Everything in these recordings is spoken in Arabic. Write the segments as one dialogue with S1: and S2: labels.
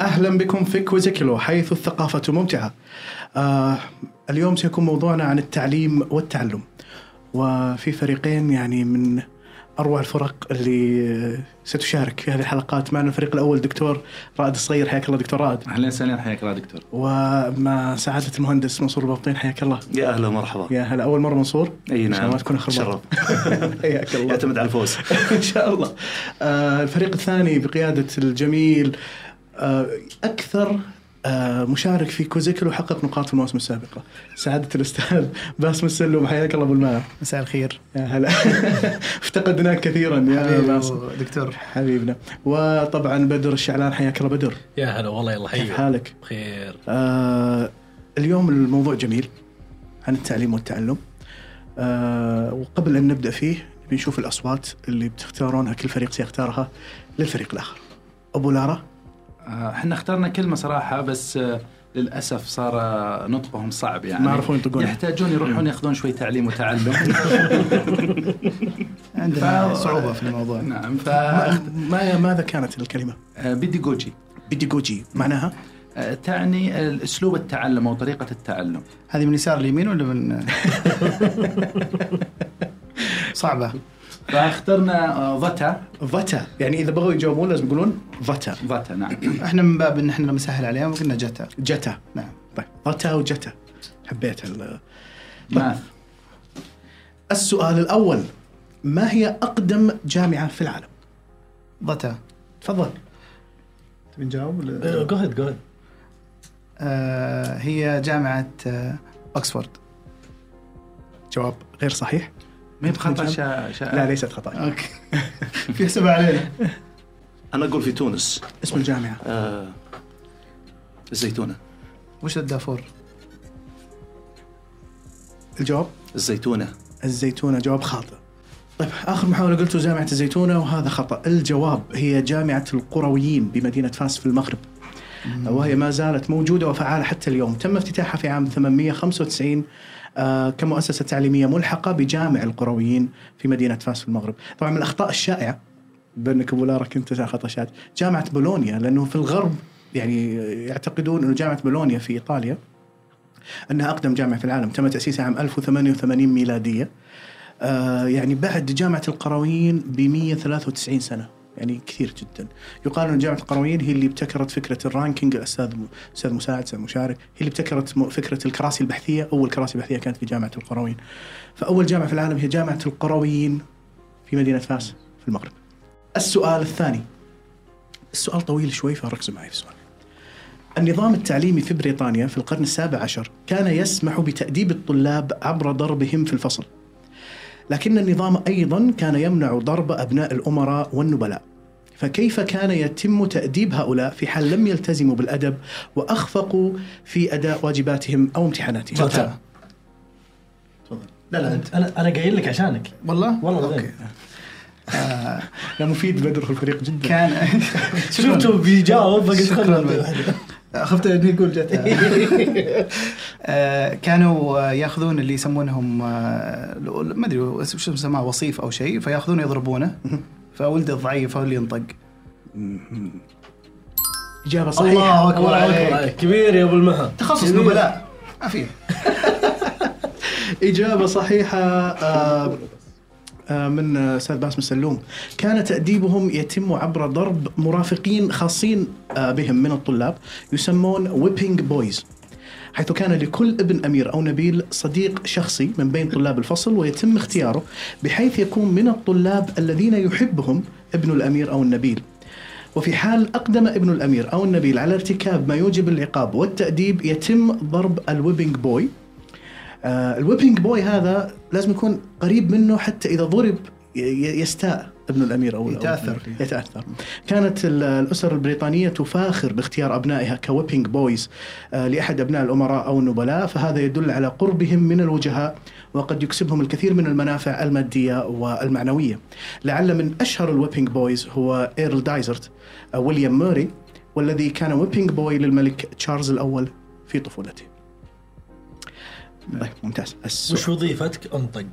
S1: اهلا بكم في كويزيكلو حيث الثقافه ممتعه. آه اليوم سيكون موضوعنا عن التعليم والتعلم. وفي فريقين يعني من اروع الفرق اللي ستشارك في هذه الحلقات معنا الفريق الاول دكتور رائد الصغير حياك الله دكتور رائد
S2: اهلا وسهلا حياك الله دكتور
S1: ومع سعاده المهندس منصور البابطين حياك الله
S3: يا اهلا ومرحبا
S1: يا هلا اول مره منصور
S3: اي
S1: إن شاء الله
S3: نعم
S1: ما تكون اخر مرة. حياك الله
S3: يعتمد على الفوز
S1: ان شاء الله آه، الفريق الثاني بقياده الجميل آه، اكثر آه، مشارك في كوزيكلو حقق نقاط في المواسم السابقه سعاده الاستاذ باسم السلوم حياك الله ابو الماء
S4: مساء الخير
S1: يا هلا افتقدناك كثيرا يا باسم
S4: أيوه، دكتور
S1: حبيبنا وطبعا بدر الشعلان حياك الله بدر
S5: يا هلا والله يلا
S6: أيوة.
S1: كيف
S5: حيو
S1: حالك
S5: بخير
S1: آه اليوم الموضوع جميل عن التعليم والتعلم آه وقبل أن نبدأ فيه بنشوف الأصوات اللي بتختارونها كل فريق سيختارها للفريق الآخر أبو لارا
S2: آه، احنا اخترنا كلمه صراحه بس آه، للاسف صار آه، نطقهم صعب يعني
S1: ما عرفوا ينطقونها.
S2: يحتاجون يروحون ياخذون شوي تعليم وتعلم
S4: عندنا
S2: ف-
S4: صعوبه في الموضوع
S2: نعم ف
S1: ما ماذا كانت الكلمة؟
S2: بيديجوجي
S1: بيديجوجي معناها
S2: آه، تعني آه، اسلوب التعلم او طريقه التعلم
S4: هذه من يسار اليمين ولا من صعبه
S2: فاخترنا آه، ضتا
S1: فتا يعني إذا بغوا يجاوبون لازم يقولون فتا
S2: ضتا نعم
S4: احنا من باب ان احنا لما نسهل عليهم قلنا جتا
S1: جتا
S4: نعم
S1: طيب فتا وجتا حبيت ال-
S2: ماث
S1: السؤال الأول ما هي أقدم جامعة في العالم؟
S4: ضتا
S1: تفضل
S4: تبي نجاوب ولا
S5: جو هيد جو هيد
S4: آه هي جامعه آه اوكسفورد
S1: جواب غير صحيح
S2: ما هي بخطا شا... شا...
S1: لا ليست خطأ
S4: اوكي في حسبة آه. علينا
S3: انا اقول في تونس
S1: اسم الجامعة
S3: آه الزيتونه
S4: وش الدافور؟
S1: الجواب
S3: الزيتونه
S1: الزيتونة جواب خاطئ طيب آخر محاولة قلتوا جامعة الزيتونة وهذا خطأ الجواب هي جامعة القرويين بمدينة فاس في المغرب وهي ما زالت موجودة وفعالة حتى اليوم تم افتتاحها في عام 895 آه، كمؤسسة تعليمية ملحقة بجامع القرويين في مدينة فاس في المغرب طبعا من الأخطاء الشائعة بانك ابو لارا كنت تسع خطشات جامعه بولونيا لانه في الغرب يعني يعتقدون انه جامعه بولونيا في ايطاليا انها اقدم جامعه في العالم تم تاسيسها عام 1088 ميلاديه آه يعني بعد جامعه القرويين ب 193 سنه يعني كثير جدا يقال ان جامعه القرويين هي اللي ابتكرت فكره الرانكينج الاستاذ استاذ مساعد استاذ مشارك هي اللي ابتكرت م- فكره الكراسي البحثيه اول كراسي بحثيه كانت في جامعه القرويين فاول جامعه في العالم هي جامعه القرويين في مدينه فاس في المغرب السؤال الثاني السؤال طويل شوي فركزوا معي في السؤال النظام التعليمي في بريطانيا في القرن السابع عشر كان يسمح بتأديب الطلاب عبر ضربهم في الفصل لكن النظام أيضا كان يمنع ضرب أبناء الأمراء والنبلاء فكيف كان يتم تأديب هؤلاء في حال لم يلتزموا بالأدب وأخفقوا في أداء واجباتهم أو امتحاناتهم
S4: ضتا
S5: لا لا انت انا انا قايل لك عشانك
S4: والله؟
S5: والله
S4: اوكي
S5: بعدين.
S1: آه، لا مفيد بدر في الفريق جدا
S4: كان
S5: شفته بيجاوب فقلت
S4: شكرا
S5: خلنا
S4: خفت انه يقول جتها آه، كانوا آه، ياخذون اللي يسمونهم آه، ما ادري وش وش يسمونه وصيف او شيء فياخذونه يضربونه فولده الضعيف هو اللي ينطق
S1: إجابة صحيحة
S4: الله أكبر
S5: الله
S4: عليك.
S5: اكبر عليك. كبير يا ابو المها
S4: تخصص
S5: كبير.
S4: نبلاء يعني ما في
S1: إجابة صحيحة آه، آه، من آه، استاذ باسم السلوم كان تاديبهم يتم عبر ضرب مرافقين خاصين آه، بهم من الطلاب يسمون ويبينج بويز حيث كان لكل ابن امير او نبيل صديق شخصي من بين طلاب الفصل ويتم اختياره بحيث يكون من الطلاب الذين يحبهم ابن الامير او النبيل وفي حال أقدم ابن الأمير أو النبيل على ارتكاب ما يوجب العقاب والتأديب يتم ضرب الويبنج بوي آه الويبنج بوي هذا لازم يكون قريب منه حتى إذا ضرب ي- ي- يستاء ابن الأمير أو أو
S4: يتأثر.
S1: النبيل. يتأثر كانت ال- الأسر البريطانية تفاخر باختيار أبنائها كويبنج بويز آه لأحد أبناء الأمراء أو النبلاء فهذا يدل على قربهم من الوجهاء وقد يكسبهم الكثير من المنافع المادية والمعنوية لعل من أشهر الويبنج بويز هو إيرل دايزرت آه، ويليام موري والذي كان ويبينج بوي للملك تشارلز الأول في طفولته طيب ممتاز السؤال.
S5: وش وظيفتك؟ انطق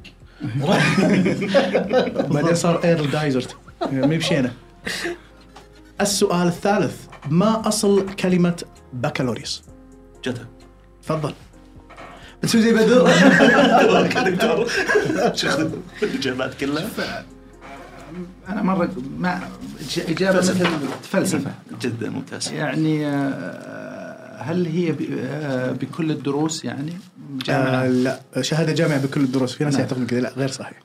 S1: بعدين صار ايرل دايزرت مي بشينا السؤال الثالث ما اصل كلمه بكالوريوس؟
S3: جتها
S1: تفضل
S4: بتسوي زي بدر
S3: تبارك دكتور شخص الاجابات كلها
S2: انا مره ما إج- اجابه مثل فلسفه
S3: جدا ممتاز
S2: يعني آه، هل هي ب- آه، بكل الدروس يعني جامعة؟
S1: آه لا شهاده جامعه بكل الدروس في ناس يعتقدون كذا لا غير صحيح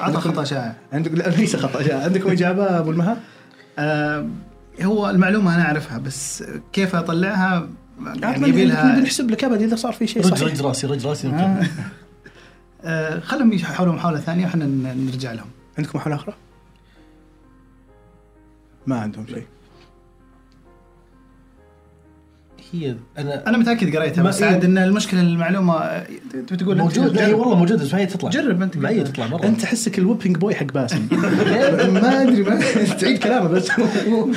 S4: عطى خطا شائع
S1: عندك لا ليس خطا عندكم اجابه ابو المها؟
S4: آه، هو المعلومه انا اعرفها بس كيف اطلعها يعني
S1: يعني
S4: يبي لها
S1: بنحسب لك ابد اذا صار في شيء
S5: رج
S1: صحيح
S5: رج راسي رج راسي نكمل.
S4: آه، خلهم يحاولوا محاوله ثانيه وحنا ن- نرجع لهم
S1: عندكم محاولة أخرى؟ ما عندهم شيء
S5: هي انا
S4: انا متاكد قريتها
S5: ما-
S4: بس
S1: إيه.
S4: عاد ان المشكله المعلومه آه، تبي تقول
S5: موجود لا هي
S4: جرب
S5: والله موجوده بس ما هي تطلع
S4: جرب أنت
S5: ما هي
S4: كده.
S5: تطلع مره
S1: أيوة، أنت حسك الوبينج بوي حق باسم ما أدري ما تعيد كلامه بس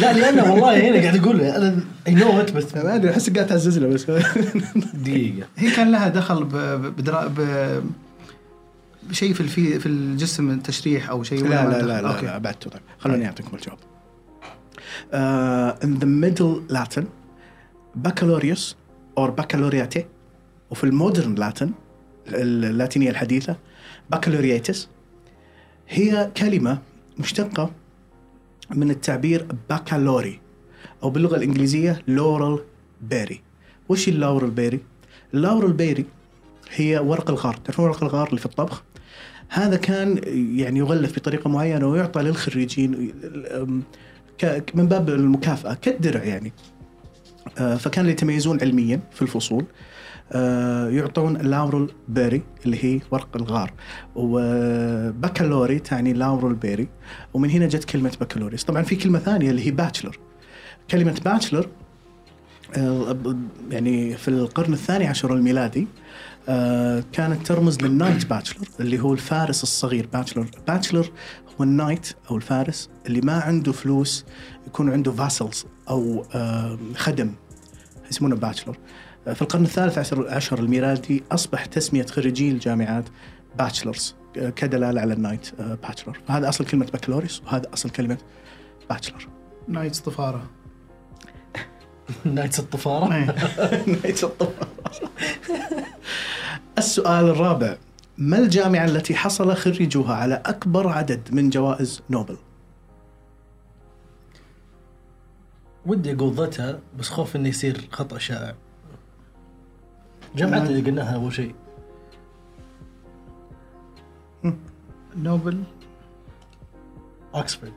S5: لا لانه والله هنا قاعد اقول انا اي نو ات بس
S1: ما طيب، أدري أحسك قاعد تعزز له بس
S5: دقيقه
S4: هي كان لها دخل ب... ب... بدرا... ب... بشيء في الفي... في الجسم التشريح او شيء ولا
S1: لا
S4: ما
S1: لا
S4: دخل؟
S1: لا لا,
S4: أوكي.
S1: لا بعدته طيب خلوني أعطيكم الجواب uh, in the middle Latin بكالوريوس or baccalaureate وفي المودرن لاتن اللاتينية الحديثة بكالورياتس هي كلمة مشتقة من التعبير بكالوري أو باللغة الإنجليزية لورال بيري وش اللورال بيري؟ اللورال بيري هي ورق الغار تعرفون ورق الغار اللي في الطبخ هذا كان يعني يغلف بطريقة معينة ويعطى للخريجين أم، ك- من باب المكافأة كالدرع يعني آه، فكان اللي يتميزون علميا في الفصول آه، يعطون لاورل بيري اللي هي ورق الغار وبكالوري تعني لاورل بيري ومن هنا جت كلمة بكالوريوس طبعا في كلمة ثانية اللي هي باتشلر كلمة باتشلر آه، يعني في القرن الثاني عشر الميلادي آه، كانت ترمز للنايت باتشلر اللي هو الفارس الصغير باتشلر باتشلر هو النايت او الفارس اللي ما عنده فلوس يكون عنده فاسلز او آه، خدم يسمونه باتشلر آه، في القرن الثالث عشر, عشر الميلادي اصبح تسميه خريجي الجامعات باتشلرز آه، كدلاله على النايت آه، باتشلر فهذا اصل كلمه بكالوريوس وهذا اصل كلمه باتشلر
S4: نايت طفاره
S5: نايتس الطفاره
S1: نهاية الطفرة. السؤال الرابع ما الجامعة التي حصل خريجوها على أكبر عدد من جوائز نوبل؟
S5: ودي اقول ضتها بس خوف انه يصير خطا شائع آه. جمعتنا اللي قلناها اول شيء
S4: نوبل
S5: اوكسفورد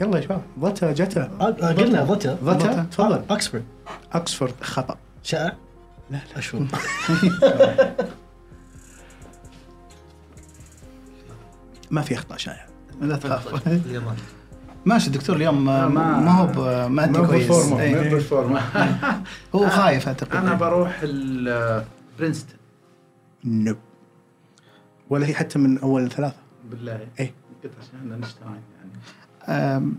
S1: يلا يا شباب ضتا جتا
S5: آه، آه، قلنا ضتها
S1: ضتا تفضل
S5: اوكسفورد
S1: أكسفورد خطأ
S5: شائع لا لا شو
S1: ما في أخطاء شائع
S4: لا تخاف ماشي الدكتور اليوم آه،
S2: ما-
S4: ما هو ب- مادي كويس إيه. هو خايف اعتقد
S2: انا بروح ال- برينستون
S1: نب ولا هي حتى من أول ثلاثة
S2: بالله
S1: إيه.
S2: قلت عشان اينشتاين يعني
S4: آم،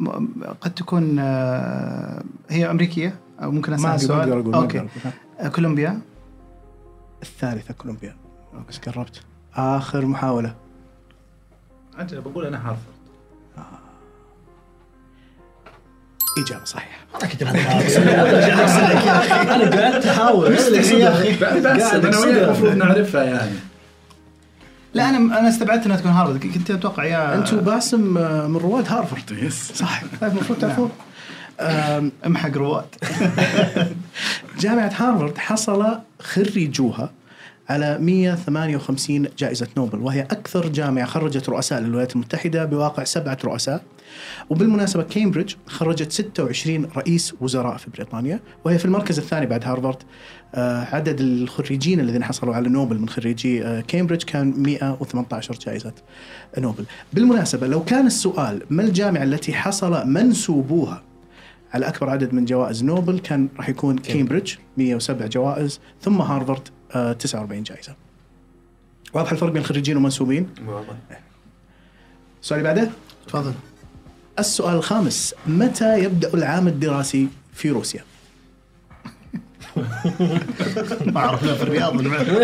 S4: م- قد تكون آه، هي امريكيه او ممكن اسال
S1: ما أقدر-
S4: السؤال
S1: أقدر أقول ما
S4: اوكي
S1: أقدر أقول.
S4: آه، كولومبيا
S1: الثالثة كولومبيا بس قربت آخر محاولة
S2: اجل بقول انا هارفرد
S1: إجابة صحيحة
S5: انا كنت انا قاعد احاول
S2: بس انا وياك المفروض نعرفها يعني
S4: لا انا انا استبعدت انها تكون هارفرد كنت اتوقع يا
S1: انت وباسم آه، من رواد هارفرد يس صح طيب المفروض تعرفون آم،
S4: امحق رواد
S1: جامعة هارفارد حصل خريجوها على 158 جائزة نوبل وهي أكثر جامعة خرجت رؤساء للولايات المتحدة بواقع سبعة رؤساء وبالمناسبة كامبريدج خرجت 26 رئيس وزراء في بريطانيا وهي في المركز الثاني بعد هارفارد آه، عدد الخريجين الذين حصلوا على نوبل من خريجي آه، كامبريدج كان 118 جائزة نوبل بالمناسبة لو كان السؤال ما الجامعة التي حصل منسوبوها على اكبر عدد من جوائز نوبل كان راح يكون كامبريدج 107 جوائز ثم هارفارد آه، 49 جائزه. واضح الفرق بين خريجين ومنسوبين؟ السؤال اللي بعده
S4: تفضل
S1: السؤال الخامس متى يبدا العام الدراسي في روسيا؟
S4: ما اعرف لا في الرياض ولا بعد.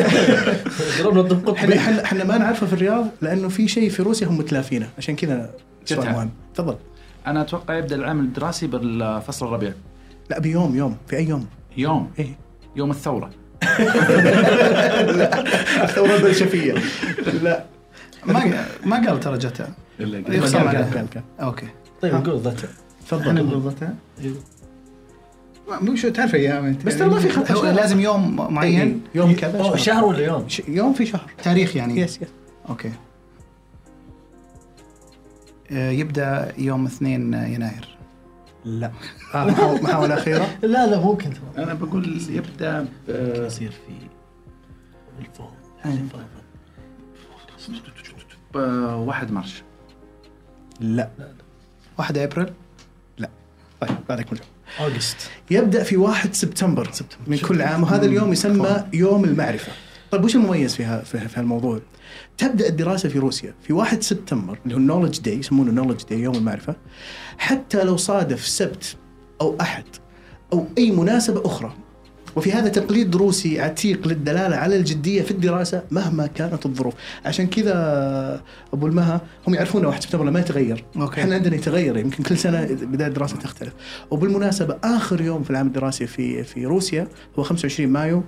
S5: ضربنا الطب
S1: احنا
S5: قطبي
S1: احنا احنا ما نعرفه في الرياض لانه في شيء في روسيا هم متلافينه عشان كذا سؤال
S2: جتها.
S1: مهم تفضل
S2: انا اتوقع يبدا العام الدراسي بالفصل الربيع
S1: لا بيوم يوم في اي يوم؟
S2: يوم
S1: ايه
S2: يوم الثوره
S1: الثوره البلشفيه لا
S4: ما ما قال ترى جتها يخصم
S1: قال-
S4: عليها.
S1: قال- قال.
S4: اوكي
S5: طيب قول ذاته
S4: احنا
S1: تفضل إيه.
S4: بالضبط مو شو تعرف ايام انت
S1: بس ترى ما في خط
S4: هو
S1: أشياء.
S4: لازم يوم
S1: إيه،
S4: معين
S1: يوم كذا شهر.
S5: أوه، شهر ولا يوم؟
S1: ش- يوم في شهر
S4: تاريخ يعني
S1: يس يس
S4: اوكي آه، يبدا يوم 2 يناير
S1: لا آه، محاولة- محاولة أخيرة
S5: لا لا مو كنت
S2: انا بقول يبدا ب-
S5: يصير في الفوضى
S2: ب 1 مارش
S1: لا
S4: 1 ابريل
S1: طيب بعدك من الجواب.
S5: اوغست
S1: يبدأ في 1 سبتمبر من كل عام وهذا اليوم يسمى يوم المعرفة طيب وش المميز فيها في في هالموضوع؟ تبدا الدراسه في روسيا في 1 سبتمبر اللي هو النولج داي يسمونه نولج داي يوم المعرفه حتى لو صادف سبت او احد او اي مناسبه اخرى وفي هذا تقليد روسي عتيق للدلاله على الجديه في الدراسه مهما كانت الظروف عشان كذا ابو المها هم يعرفون 1 سبتمبر ما يتغير
S4: أوكي.
S1: احنا عندنا يتغير يمكن كل سنه بدايه الدراسه تختلف وبالمناسبه اخر يوم في العام الدراسي في في روسيا هو 25 مايو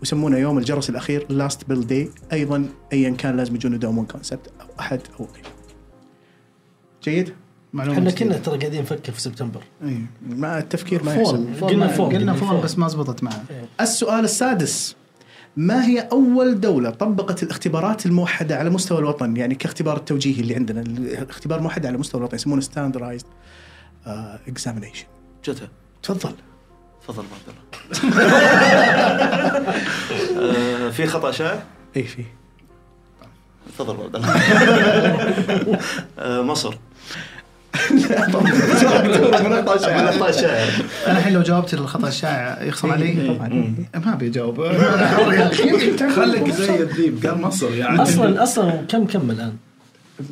S1: ويسمونه يوم الجرس الاخير لاست بيل داي ايضا ايا كان لازم يجون يداومون كونسبت او احد او أي. جيد؟
S4: معلومه
S5: احنا
S4: جديدة.
S5: كنا ترى قاعدين نفكر في سبتمبر
S4: إيه.
S1: ما التفكير ما يحسب
S5: فول قلنا فول
S4: قلنا فول بس ما زبطت معه
S1: السؤال السادس ما هي أول دولة طبقت الاختبارات الموحدة على مستوى الوطن يعني كاختبار التوجيهي اللي عندنا الاختبار موحد على مستوى الوطن يسمونه ستاندرايزد اكزامينيشن
S3: جتها
S1: تفضل
S3: تفضل ابو عبد الله آه، في خطا شائع
S1: اي
S2: إيه،
S1: في
S3: تفضل ابو عبد الله آه، مصر خطا شائع
S4: انا الحين لو جاوبت الخطا الشائع
S1: إيه.
S4: يخصم علي إيه، ما ابي اجاوب
S2: إيه. خليك زي الذيب قال مصر يعني
S5: اصلا اصلا كم كم الان؟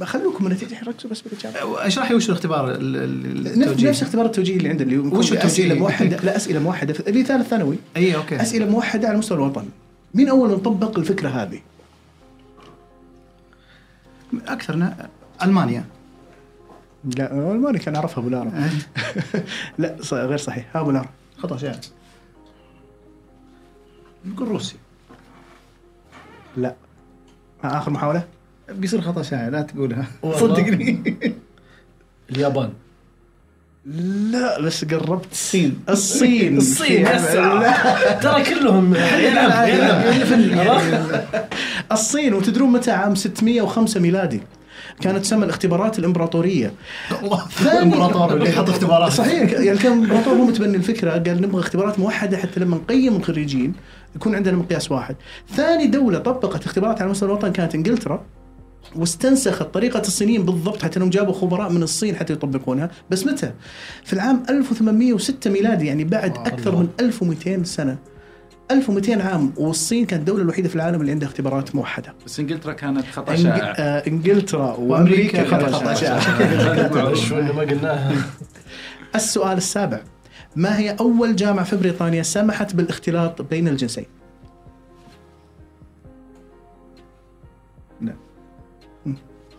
S1: خلوكم من النتيجه ركزوا بس بالاجابه
S4: اشرح أه، لي وش الاختبار ال- ال-
S1: نفس
S4: التوجيه.
S1: نفس اختبار التوجيهي اللي عندنا اللي هو
S4: وش التوجيهي؟ إيه.
S1: اسئله موحده لا اسئله موحده في- اللي ثالث ثانوي
S4: اي اوكي
S1: اسئله موحده على مستوى الوطن مين اول من طبق الفكره هذه؟
S4: اكثرنا المانيا
S1: لا الماني كان عرفها ابو لارا
S4: أه.
S1: لا ص- غير صحيح ها ابو لارا
S4: خطا شائع
S2: نقول روسيا
S1: لا ها اخر محاوله
S4: بيصير خطا شائع لا تقولها
S5: والله.
S4: صدقني
S5: اليابان
S1: لا بس قربت الصين الصين
S5: الصين هسه ترى كلهم يلعب يلعب
S1: الصين وتدرون متى عام 605 ميلادي كانت تسمى الاختبارات الامبراطوريه
S4: الله
S1: ثاني-
S4: الامبراطور اللي يحط اختبارات
S1: صحيح يعني كان الامبراطور هو متبني الفكره قال نبغى اختبارات موحده حتى لما نقيم الخريجين يكون عندنا مقياس واحد. ثاني دوله طبقت اختبارات على مستوى الوطن كانت انجلترا واستنسخت طريقة الصينيين بالضبط حتى انهم جابوا خبراء من الصين حتى يطبقونها، بس متى؟ في العام 1806 ميلادي يعني بعد أكثر من 1200 سنة. 1200 عام والصين كانت الدولة الوحيدة في العالم اللي عندها اختبارات موحدة.
S2: بس انجلترا كانت خطا
S1: إنج-
S2: شائع
S1: آه، انجلترا وامريكا
S4: كانت
S1: كانت
S4: خطأ
S1: شائعة.
S5: معلش وإنه ما قلناها
S1: السؤال السابع ما هي أول جامعة في بريطانيا سمحت بالاختلاط بين الجنسين؟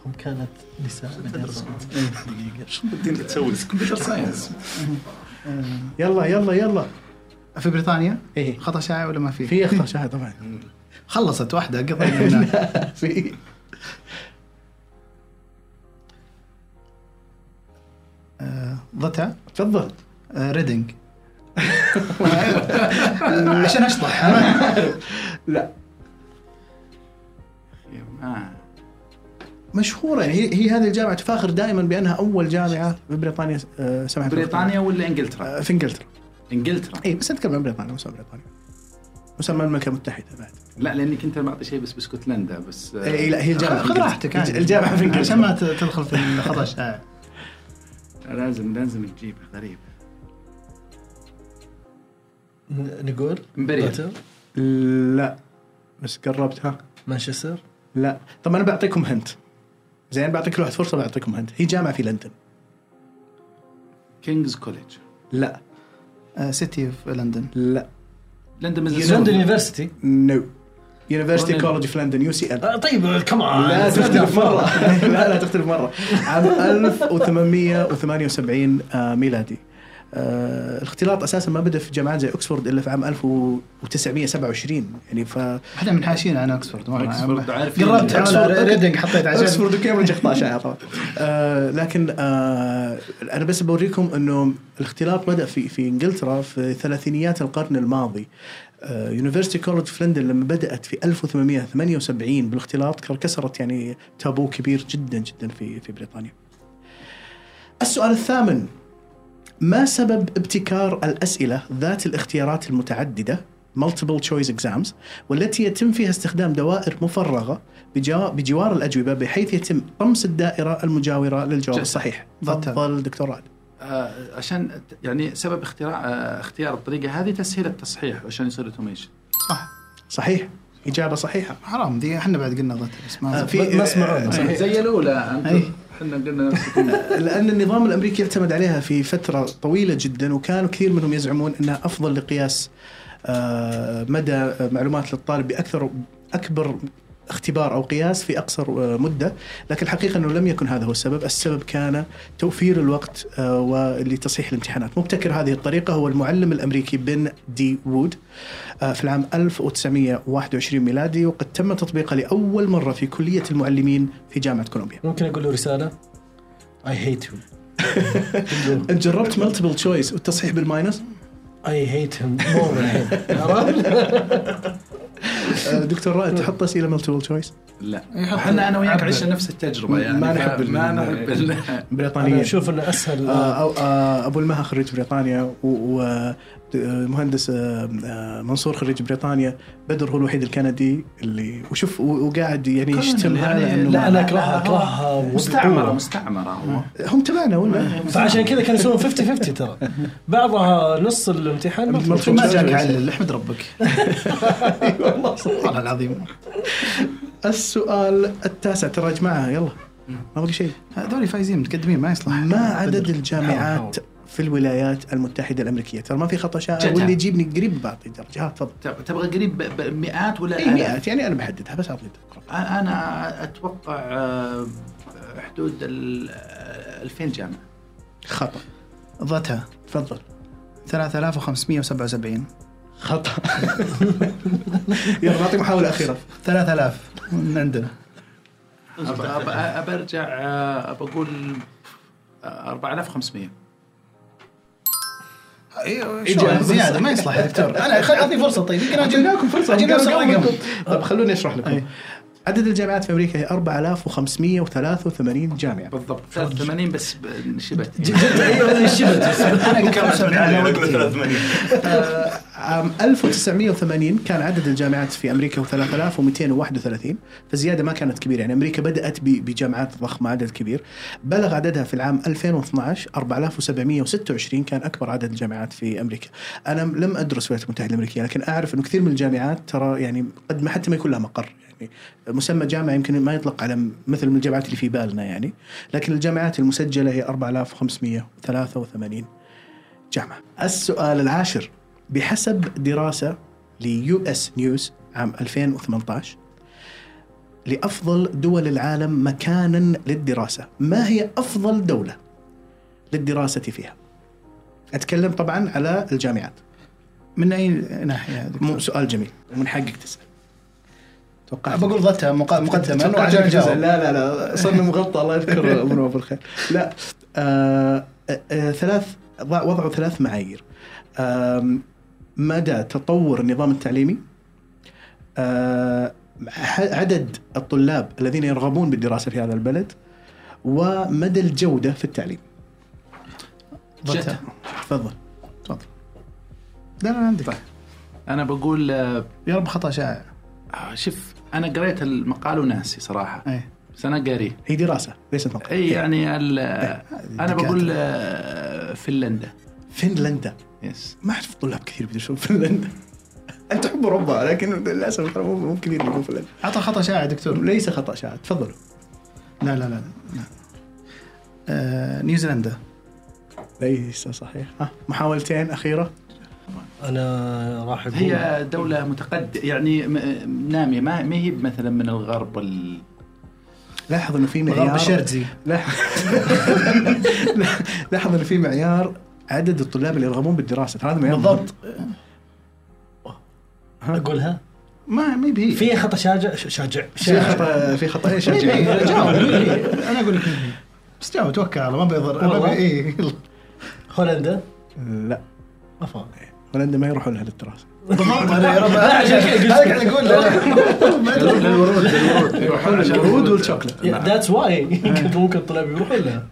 S5: هم كانت نساء
S3: الدين تسوي
S2: كمبيوتر ساينس
S1: يلا يلا يلا
S4: في بريطانيا
S1: إيه.
S4: خطا شائع ولا ما في؟
S1: في اختار شاهد طبعا
S4: خلصت واحده قضينا
S1: في
S4: آه، ضتا
S1: تفضل
S4: آه، ريدنج عشان اشطح ها؟
S1: لا
S2: آه.
S1: مشهوره يعني هي, هي هذه الجامعه تفاخر دائما بانها اول جامعه في بريطانيا آه، سمحت بالخطأ.
S2: بريطانيا ولا انجلترا؟
S1: آه، في انجلترا
S2: انجلترا
S1: اي بس اتكلم عن بريطانيا مسمى بريطانيا مسمى المملكه المتحده بعد
S2: لا لاني كنت بعطي شيء بس باسكتلندا بس آه،
S1: اي لا هي الجامعه في
S4: خذ
S1: إنجلترا.
S4: راحتك عادي.
S1: الجامعه في
S4: عشان ما
S1: انجلترا
S4: ت- تدخل في آه، الخطا الشائع
S2: لازم لازم تجيبها غريب
S5: ن- نقول
S2: إمبريال.
S5: غوتا،
S1: لا بس قربتها
S5: مانشستر
S1: لا طب انا بعطيكم هنت زين بعطيك كل واحد فرصه بعطيكم هنت هي جامعه في لندن
S2: كينجز كوليج
S1: لا
S4: آه، سيتي في لندن
S1: لا
S2: لندن is a
S5: لندن
S2: suburb.
S5: يونيفرستي
S1: نو يونيفرستي
S2: لندن.
S1: كولج في لندن يو سي ال
S5: آه، طيب كمان
S1: لا تختلف مره لا لا تختلف مره عام 1878 آه، ميلادي آه، الاختلاط اساسا ما بدا في جامعات زي اوكسفورد الا في عام 1927 يعني ف
S4: احنا منحاشين عن اوكسفورد مرة.
S2: أوكسفورد عارفين.
S4: قربت
S1: أوكسفورد-
S4: على ريدنج حطيت عشان
S1: اوكسفورد وكامبريدج 11 يا طبعا آه، لكن آه، انا بس بوريكم انه الاختلاط بدا في في انجلترا في ثلاثينيات القرن الماضي آه، يونيفرستي كولج في لندن لما بدات في 1878 بالاختلاط كر- كسرت يعني تابو كبير جدا جدا في في بريطانيا. السؤال الثامن ما سبب ابتكار الاسئله ذات الاختيارات المتعدده multiple choice exams والتي يتم فيها استخدام دوائر مفرغه بجوا- بجوار الاجوبه بحيث يتم طمس الدائره المجاوره للجواب
S2: جزاك.
S1: الصحيح.
S4: بالطبع.
S1: تفضل دكتور رعد.
S2: آه، عشان ت- يعني سبب اختراع آه، اختيار الطريقه هذه تسهيل التصحيح عشان يصير اوتوميشن
S4: صح
S1: صحيح اجابه صحيحه.
S4: حرام دي احنا بعد قلنا ضتا بس ما
S1: آه، في-
S5: ما سمعونا.
S1: صحيح.
S2: زي الاولى انتم
S4: أي.
S2: احنا قلنا نفس الكلام.
S1: لان النظام الامريكي اعتمد عليها في فتره طويله جدا وكانوا كثير منهم يزعمون انها افضل لقياس آه، مدى معلومات للطالب باكثر اكبر اختبار او قياس في اقصر آه، مده، لكن الحقيقه انه لم يكن هذا هو السبب، السبب كان توفير الوقت آه، ولتصحيح الامتحانات، مبتكر هذه الطريقه هو المعلم الامريكي بن دي وود آه، في العام 1921 ميلادي وقد تم تطبيقه لاول مره في كليه المعلمين في جامعه كولومبيا.
S5: ممكن اقول له رساله اي هيت هيم
S1: انت جربت ملتيبل تشويس والتصحيح بالماينس
S5: اي هيت هيم مور الحين عرفت؟
S1: آه، دكتور رائد تحط اسئله ملتيبل تشويس
S2: لا احنا انا وياك
S5: عبر.
S2: عشنا نفس التجربه يعني
S1: ما
S2: ف-
S1: نحب ال-
S2: ما نحب ال-
S5: انا
S1: بريطانيه
S5: اشوف انه اسهل
S1: آه، أو آه، ابو المها خريج بريطانيا آه، ومهندس آه، منصور خريج بريطانيا بدر هو الوحيد الكندي اللي وشوف و- وقاعد يعني يشتم
S2: يعني
S1: هذا انه
S5: لا
S1: ما-
S5: انا اكرهها اكرهها
S2: مستعمره
S5: وبقوة.
S2: مستعمره هو
S1: هم تبعنا ولا
S5: فعشان كذا كانوا يسوون 50 50 ترى بعضها نص الامتحان
S1: مطلوب.
S4: ما جاك علل احمد ربك والله العظيم
S1: السؤال التاسع ترى يا جماعه يلا ما بقي شيء
S4: هذول آه، فايزين متقدمين ما يصلح
S1: ما عدد
S4: بدر.
S5: حاول،
S1: الجامعات في الولايات المتحده الامريكيه ترى ما في خطا شائع
S2: جدع.
S1: واللي يجيبني قريب بعطي درجه ها تفضل
S2: تب- تبغى قريب ب- ب- مئات ولا
S1: اي
S2: آلاف؟
S1: مئات يعني انا بحددها بس اعطيك
S2: أ- انا اتوقع آه، حدود ال آه، 2000 جامعه
S1: خطا
S4: ضتا
S1: تفضل
S4: 3577
S1: خطا يلا بعطيك محاوله اخيره
S4: 3000 من عندنا
S2: أب- أب- أب- برجع آه، بقول آه، 4500
S4: شو زياده ما يصلح يا دكتور انا خل اعطني فرصه طيب يمكن اجي
S1: جبناكم فرصه
S4: اجي نفس الرقم
S1: طب طيب، خلوني اشرح لكم
S4: أي.
S1: عدد الجامعات في امريكا هي 4583 جامعه
S2: بالضبط 83 بس ب- شبت
S5: جد جد ايوه شبت
S4: انا قلت
S3: كم
S4: أبشر
S3: من
S4: على
S3: على
S4: وقتي.
S3: 83
S1: آه، عام 1980 كان عدد الجامعات في امريكا هو 3231 فزياده ما كانت كبيره يعني امريكا بدات ب- بجامعات ضخمه عدد كبير بلغ عددها في العام 2012 4726 كان اكبر عدد الجامعات في امريكا انا م- لم ادرس الولايات المتحده الامريكيه لكن اعرف انه كثير من الجامعات ترى يعني قد ما حتى ما يكون لها مقر يعني مسمى جامعه يمكن ما يطلق على م- مثل من الجامعات اللي في بالنا يعني لكن الجامعات المسجله هي 4583 جامعة السؤال العاشر بحسب دراسة ليو اس نيوز عام 2018 لأفضل دول العالم مكانا للدراسة ما هي أفضل دولة للدراسة فيها أتكلم طبعا على الجامعات
S4: من اي ناحيه يا دكتور؟
S1: مو سؤال جميل من حقك تسأل توقعت
S4: بقول ضتها مقا- مقدما
S1: توقعت
S4: وعشان
S1: الجزء.
S4: اجاوب
S1: لا لا لا صرنا مغطى الله يذكر منه بالخير لا آه آه ثلاث ضع- وضعوا ثلاث معايير آم، مدى تطور النظام التعليمي آه، ح- عدد الطلاب الذين يرغبون بالدراسه في هذا البلد ومدى الجوده في التعليم
S4: ضتها
S1: تفضل
S4: تفضل لا لا عندك
S2: انا بقول آه،
S4: طيب. يا رب خطا شائع
S2: آه، شوف انا قريت المقال وناسي صراحه
S4: ايه
S2: بس انا قاريه
S1: هي دراسه ليست مقال
S2: اي يعني ال- انا
S4: دكاترة.
S2: بقول آه، فنلندا
S1: فنلندا
S2: يس
S1: ما اعرف طلاب كثير بيدرسون فنلندا انت تحب اوروبا لكن للاسف ترى مو مو كثير يدرسون فنلندا
S4: عطى خطا شائع دكتور
S1: ليس خطا شائع تفضلوا
S4: لا لا لا, لا. آه، نيوزيلندا
S1: إيه، ليس صحيح ها محاولتين اخيره
S5: انا راح اقول
S2: هي دولة متقد يعني م- نامية ما ما هي مثلا من الغرب وال...
S1: لاحظ انه في
S4: الغرب
S1: معيار
S4: الشرزي
S1: لاحظ لاحظ انه في معيار عدد الطلاب اللي يرغبون بالدراسه ترى هذا معيار مهم.
S5: بالضبط اقولها
S1: ما ما يبي
S5: في خطا شاجع شاجع
S1: في
S5: شاجع
S1: خطا في خطا ايش
S4: جاوب انا اقول لك بس جاوب توكل على الله، ما بيضر ما بي-
S5: والله.
S4: إيه، يلا.
S5: هولندا
S1: لا
S5: ما فاهم
S1: هولندا ما يروحون لها للدراسه
S4: بالضبط انا يا رب انا
S5: عشان كذا قلت
S4: قاعد اقول
S2: للورود للورود
S1: يروحون للورود والشوكلت
S4: نعم.
S5: ذاتس واي ممكن الطلاب يروحون لها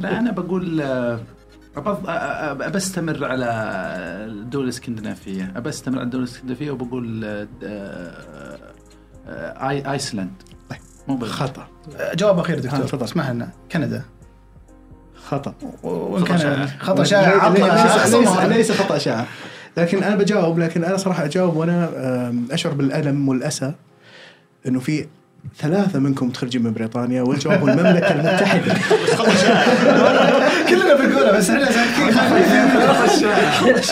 S2: لا أنا بقول آه، أبض- آه، آه، أبستمر على الدول الإسكندنافية أبستمر على الدول الإسكندنافية وبقول آه، آه، آه، آي- أيسلند مو بغ-
S1: خطا
S4: جواب اخير
S1: آه،
S4: دكتور
S1: تفضل.
S4: اسمح لنا كندا
S1: خطا
S4: وان كان
S2: شائع.
S4: خطا شائع
S1: ليس- ليس- ليس
S4: عطى
S1: ليس خطا شائع لكن انا بجاوب لكن انا صراحه اجاوب وانا أم، اشعر بالالم والاسى انه في ثلاثة منكم متخرجين من بريطانيا والجواب هو المملكة المتحدة
S4: كلنا بنقولها بس احنا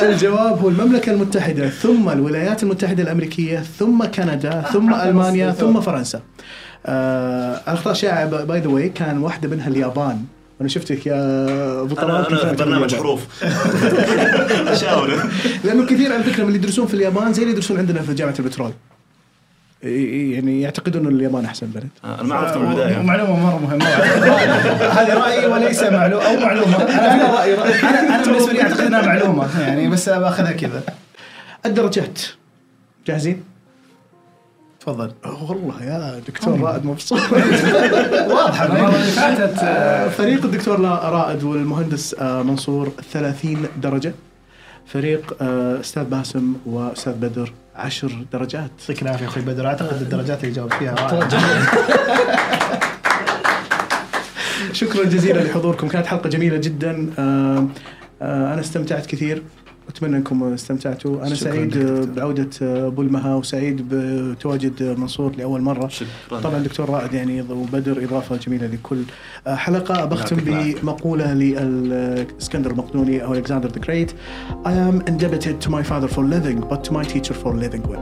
S1: الجواب هو المملكة المتحدة ثم الولايات المتحدة الأمريكية ثم كندا ثم ألمانيا ثم فرنسا آه الأخطاء شائعة باي ذا واي كان واحدة منها اليابان أنا شفتك يا أبو طلال
S3: انا
S1: كيف
S3: انا
S1: أعجبك
S3: برنامج
S1: اليابان.
S3: حروف شاولوا
S1: لانه كثير على فكره من اللي يدرسون في اليابان زي اللي يدرسون عندنا في جامعه البترول إي- إي- يعني يعتقدون انه اليابان احسن بلد
S3: انا آه، ما عرفت من البدايه
S4: معلومه مره مهمه هذه رايي وليس معلومه او معلومه انا رايي انا أنا بالنسبه لي اعتقد انها معلومه يعني بس باخذها كذا
S1: الدرجات جاهزين؟
S4: تفضل طيب.
S1: أوه، والله يا دكتور رائد مبسوط
S4: واضحه
S2: المرة اللي فاتت آه،
S1: فريق الدكتور لا- رائد والمهندس آه، منصور 30 درجه فريق آه، استاذ باسم واستاذ بدر 10 درجات
S4: يعطيك العافيه اخوي بدر اعتقد الدرجات اللي جاوبت فيها رائعة.
S1: شكرا جزيلا لحضوركم كانت حلقه جميله جدا آه، آه، انا استمتعت كثير اتمنى انكم استمتعتوا انا
S4: شكراً
S1: سعيد
S4: لك
S1: آه،
S4: دكتور.
S1: بعوده آه، ابو المها وسعيد بتواجد آه، منصور لاول مره
S3: شكراً.
S1: طبعا دكتور رائد يعني ض- وبدر اضافه جميله لكل آه، حلقه بختم
S2: يعطيك العافية.
S1: بمقوله للاسكندر المقدوني او الكسندر ذا جريت I am indebted to my father for living but to my teacher for living well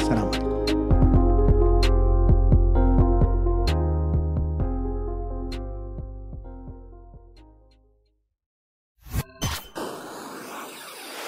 S1: السلام عليكم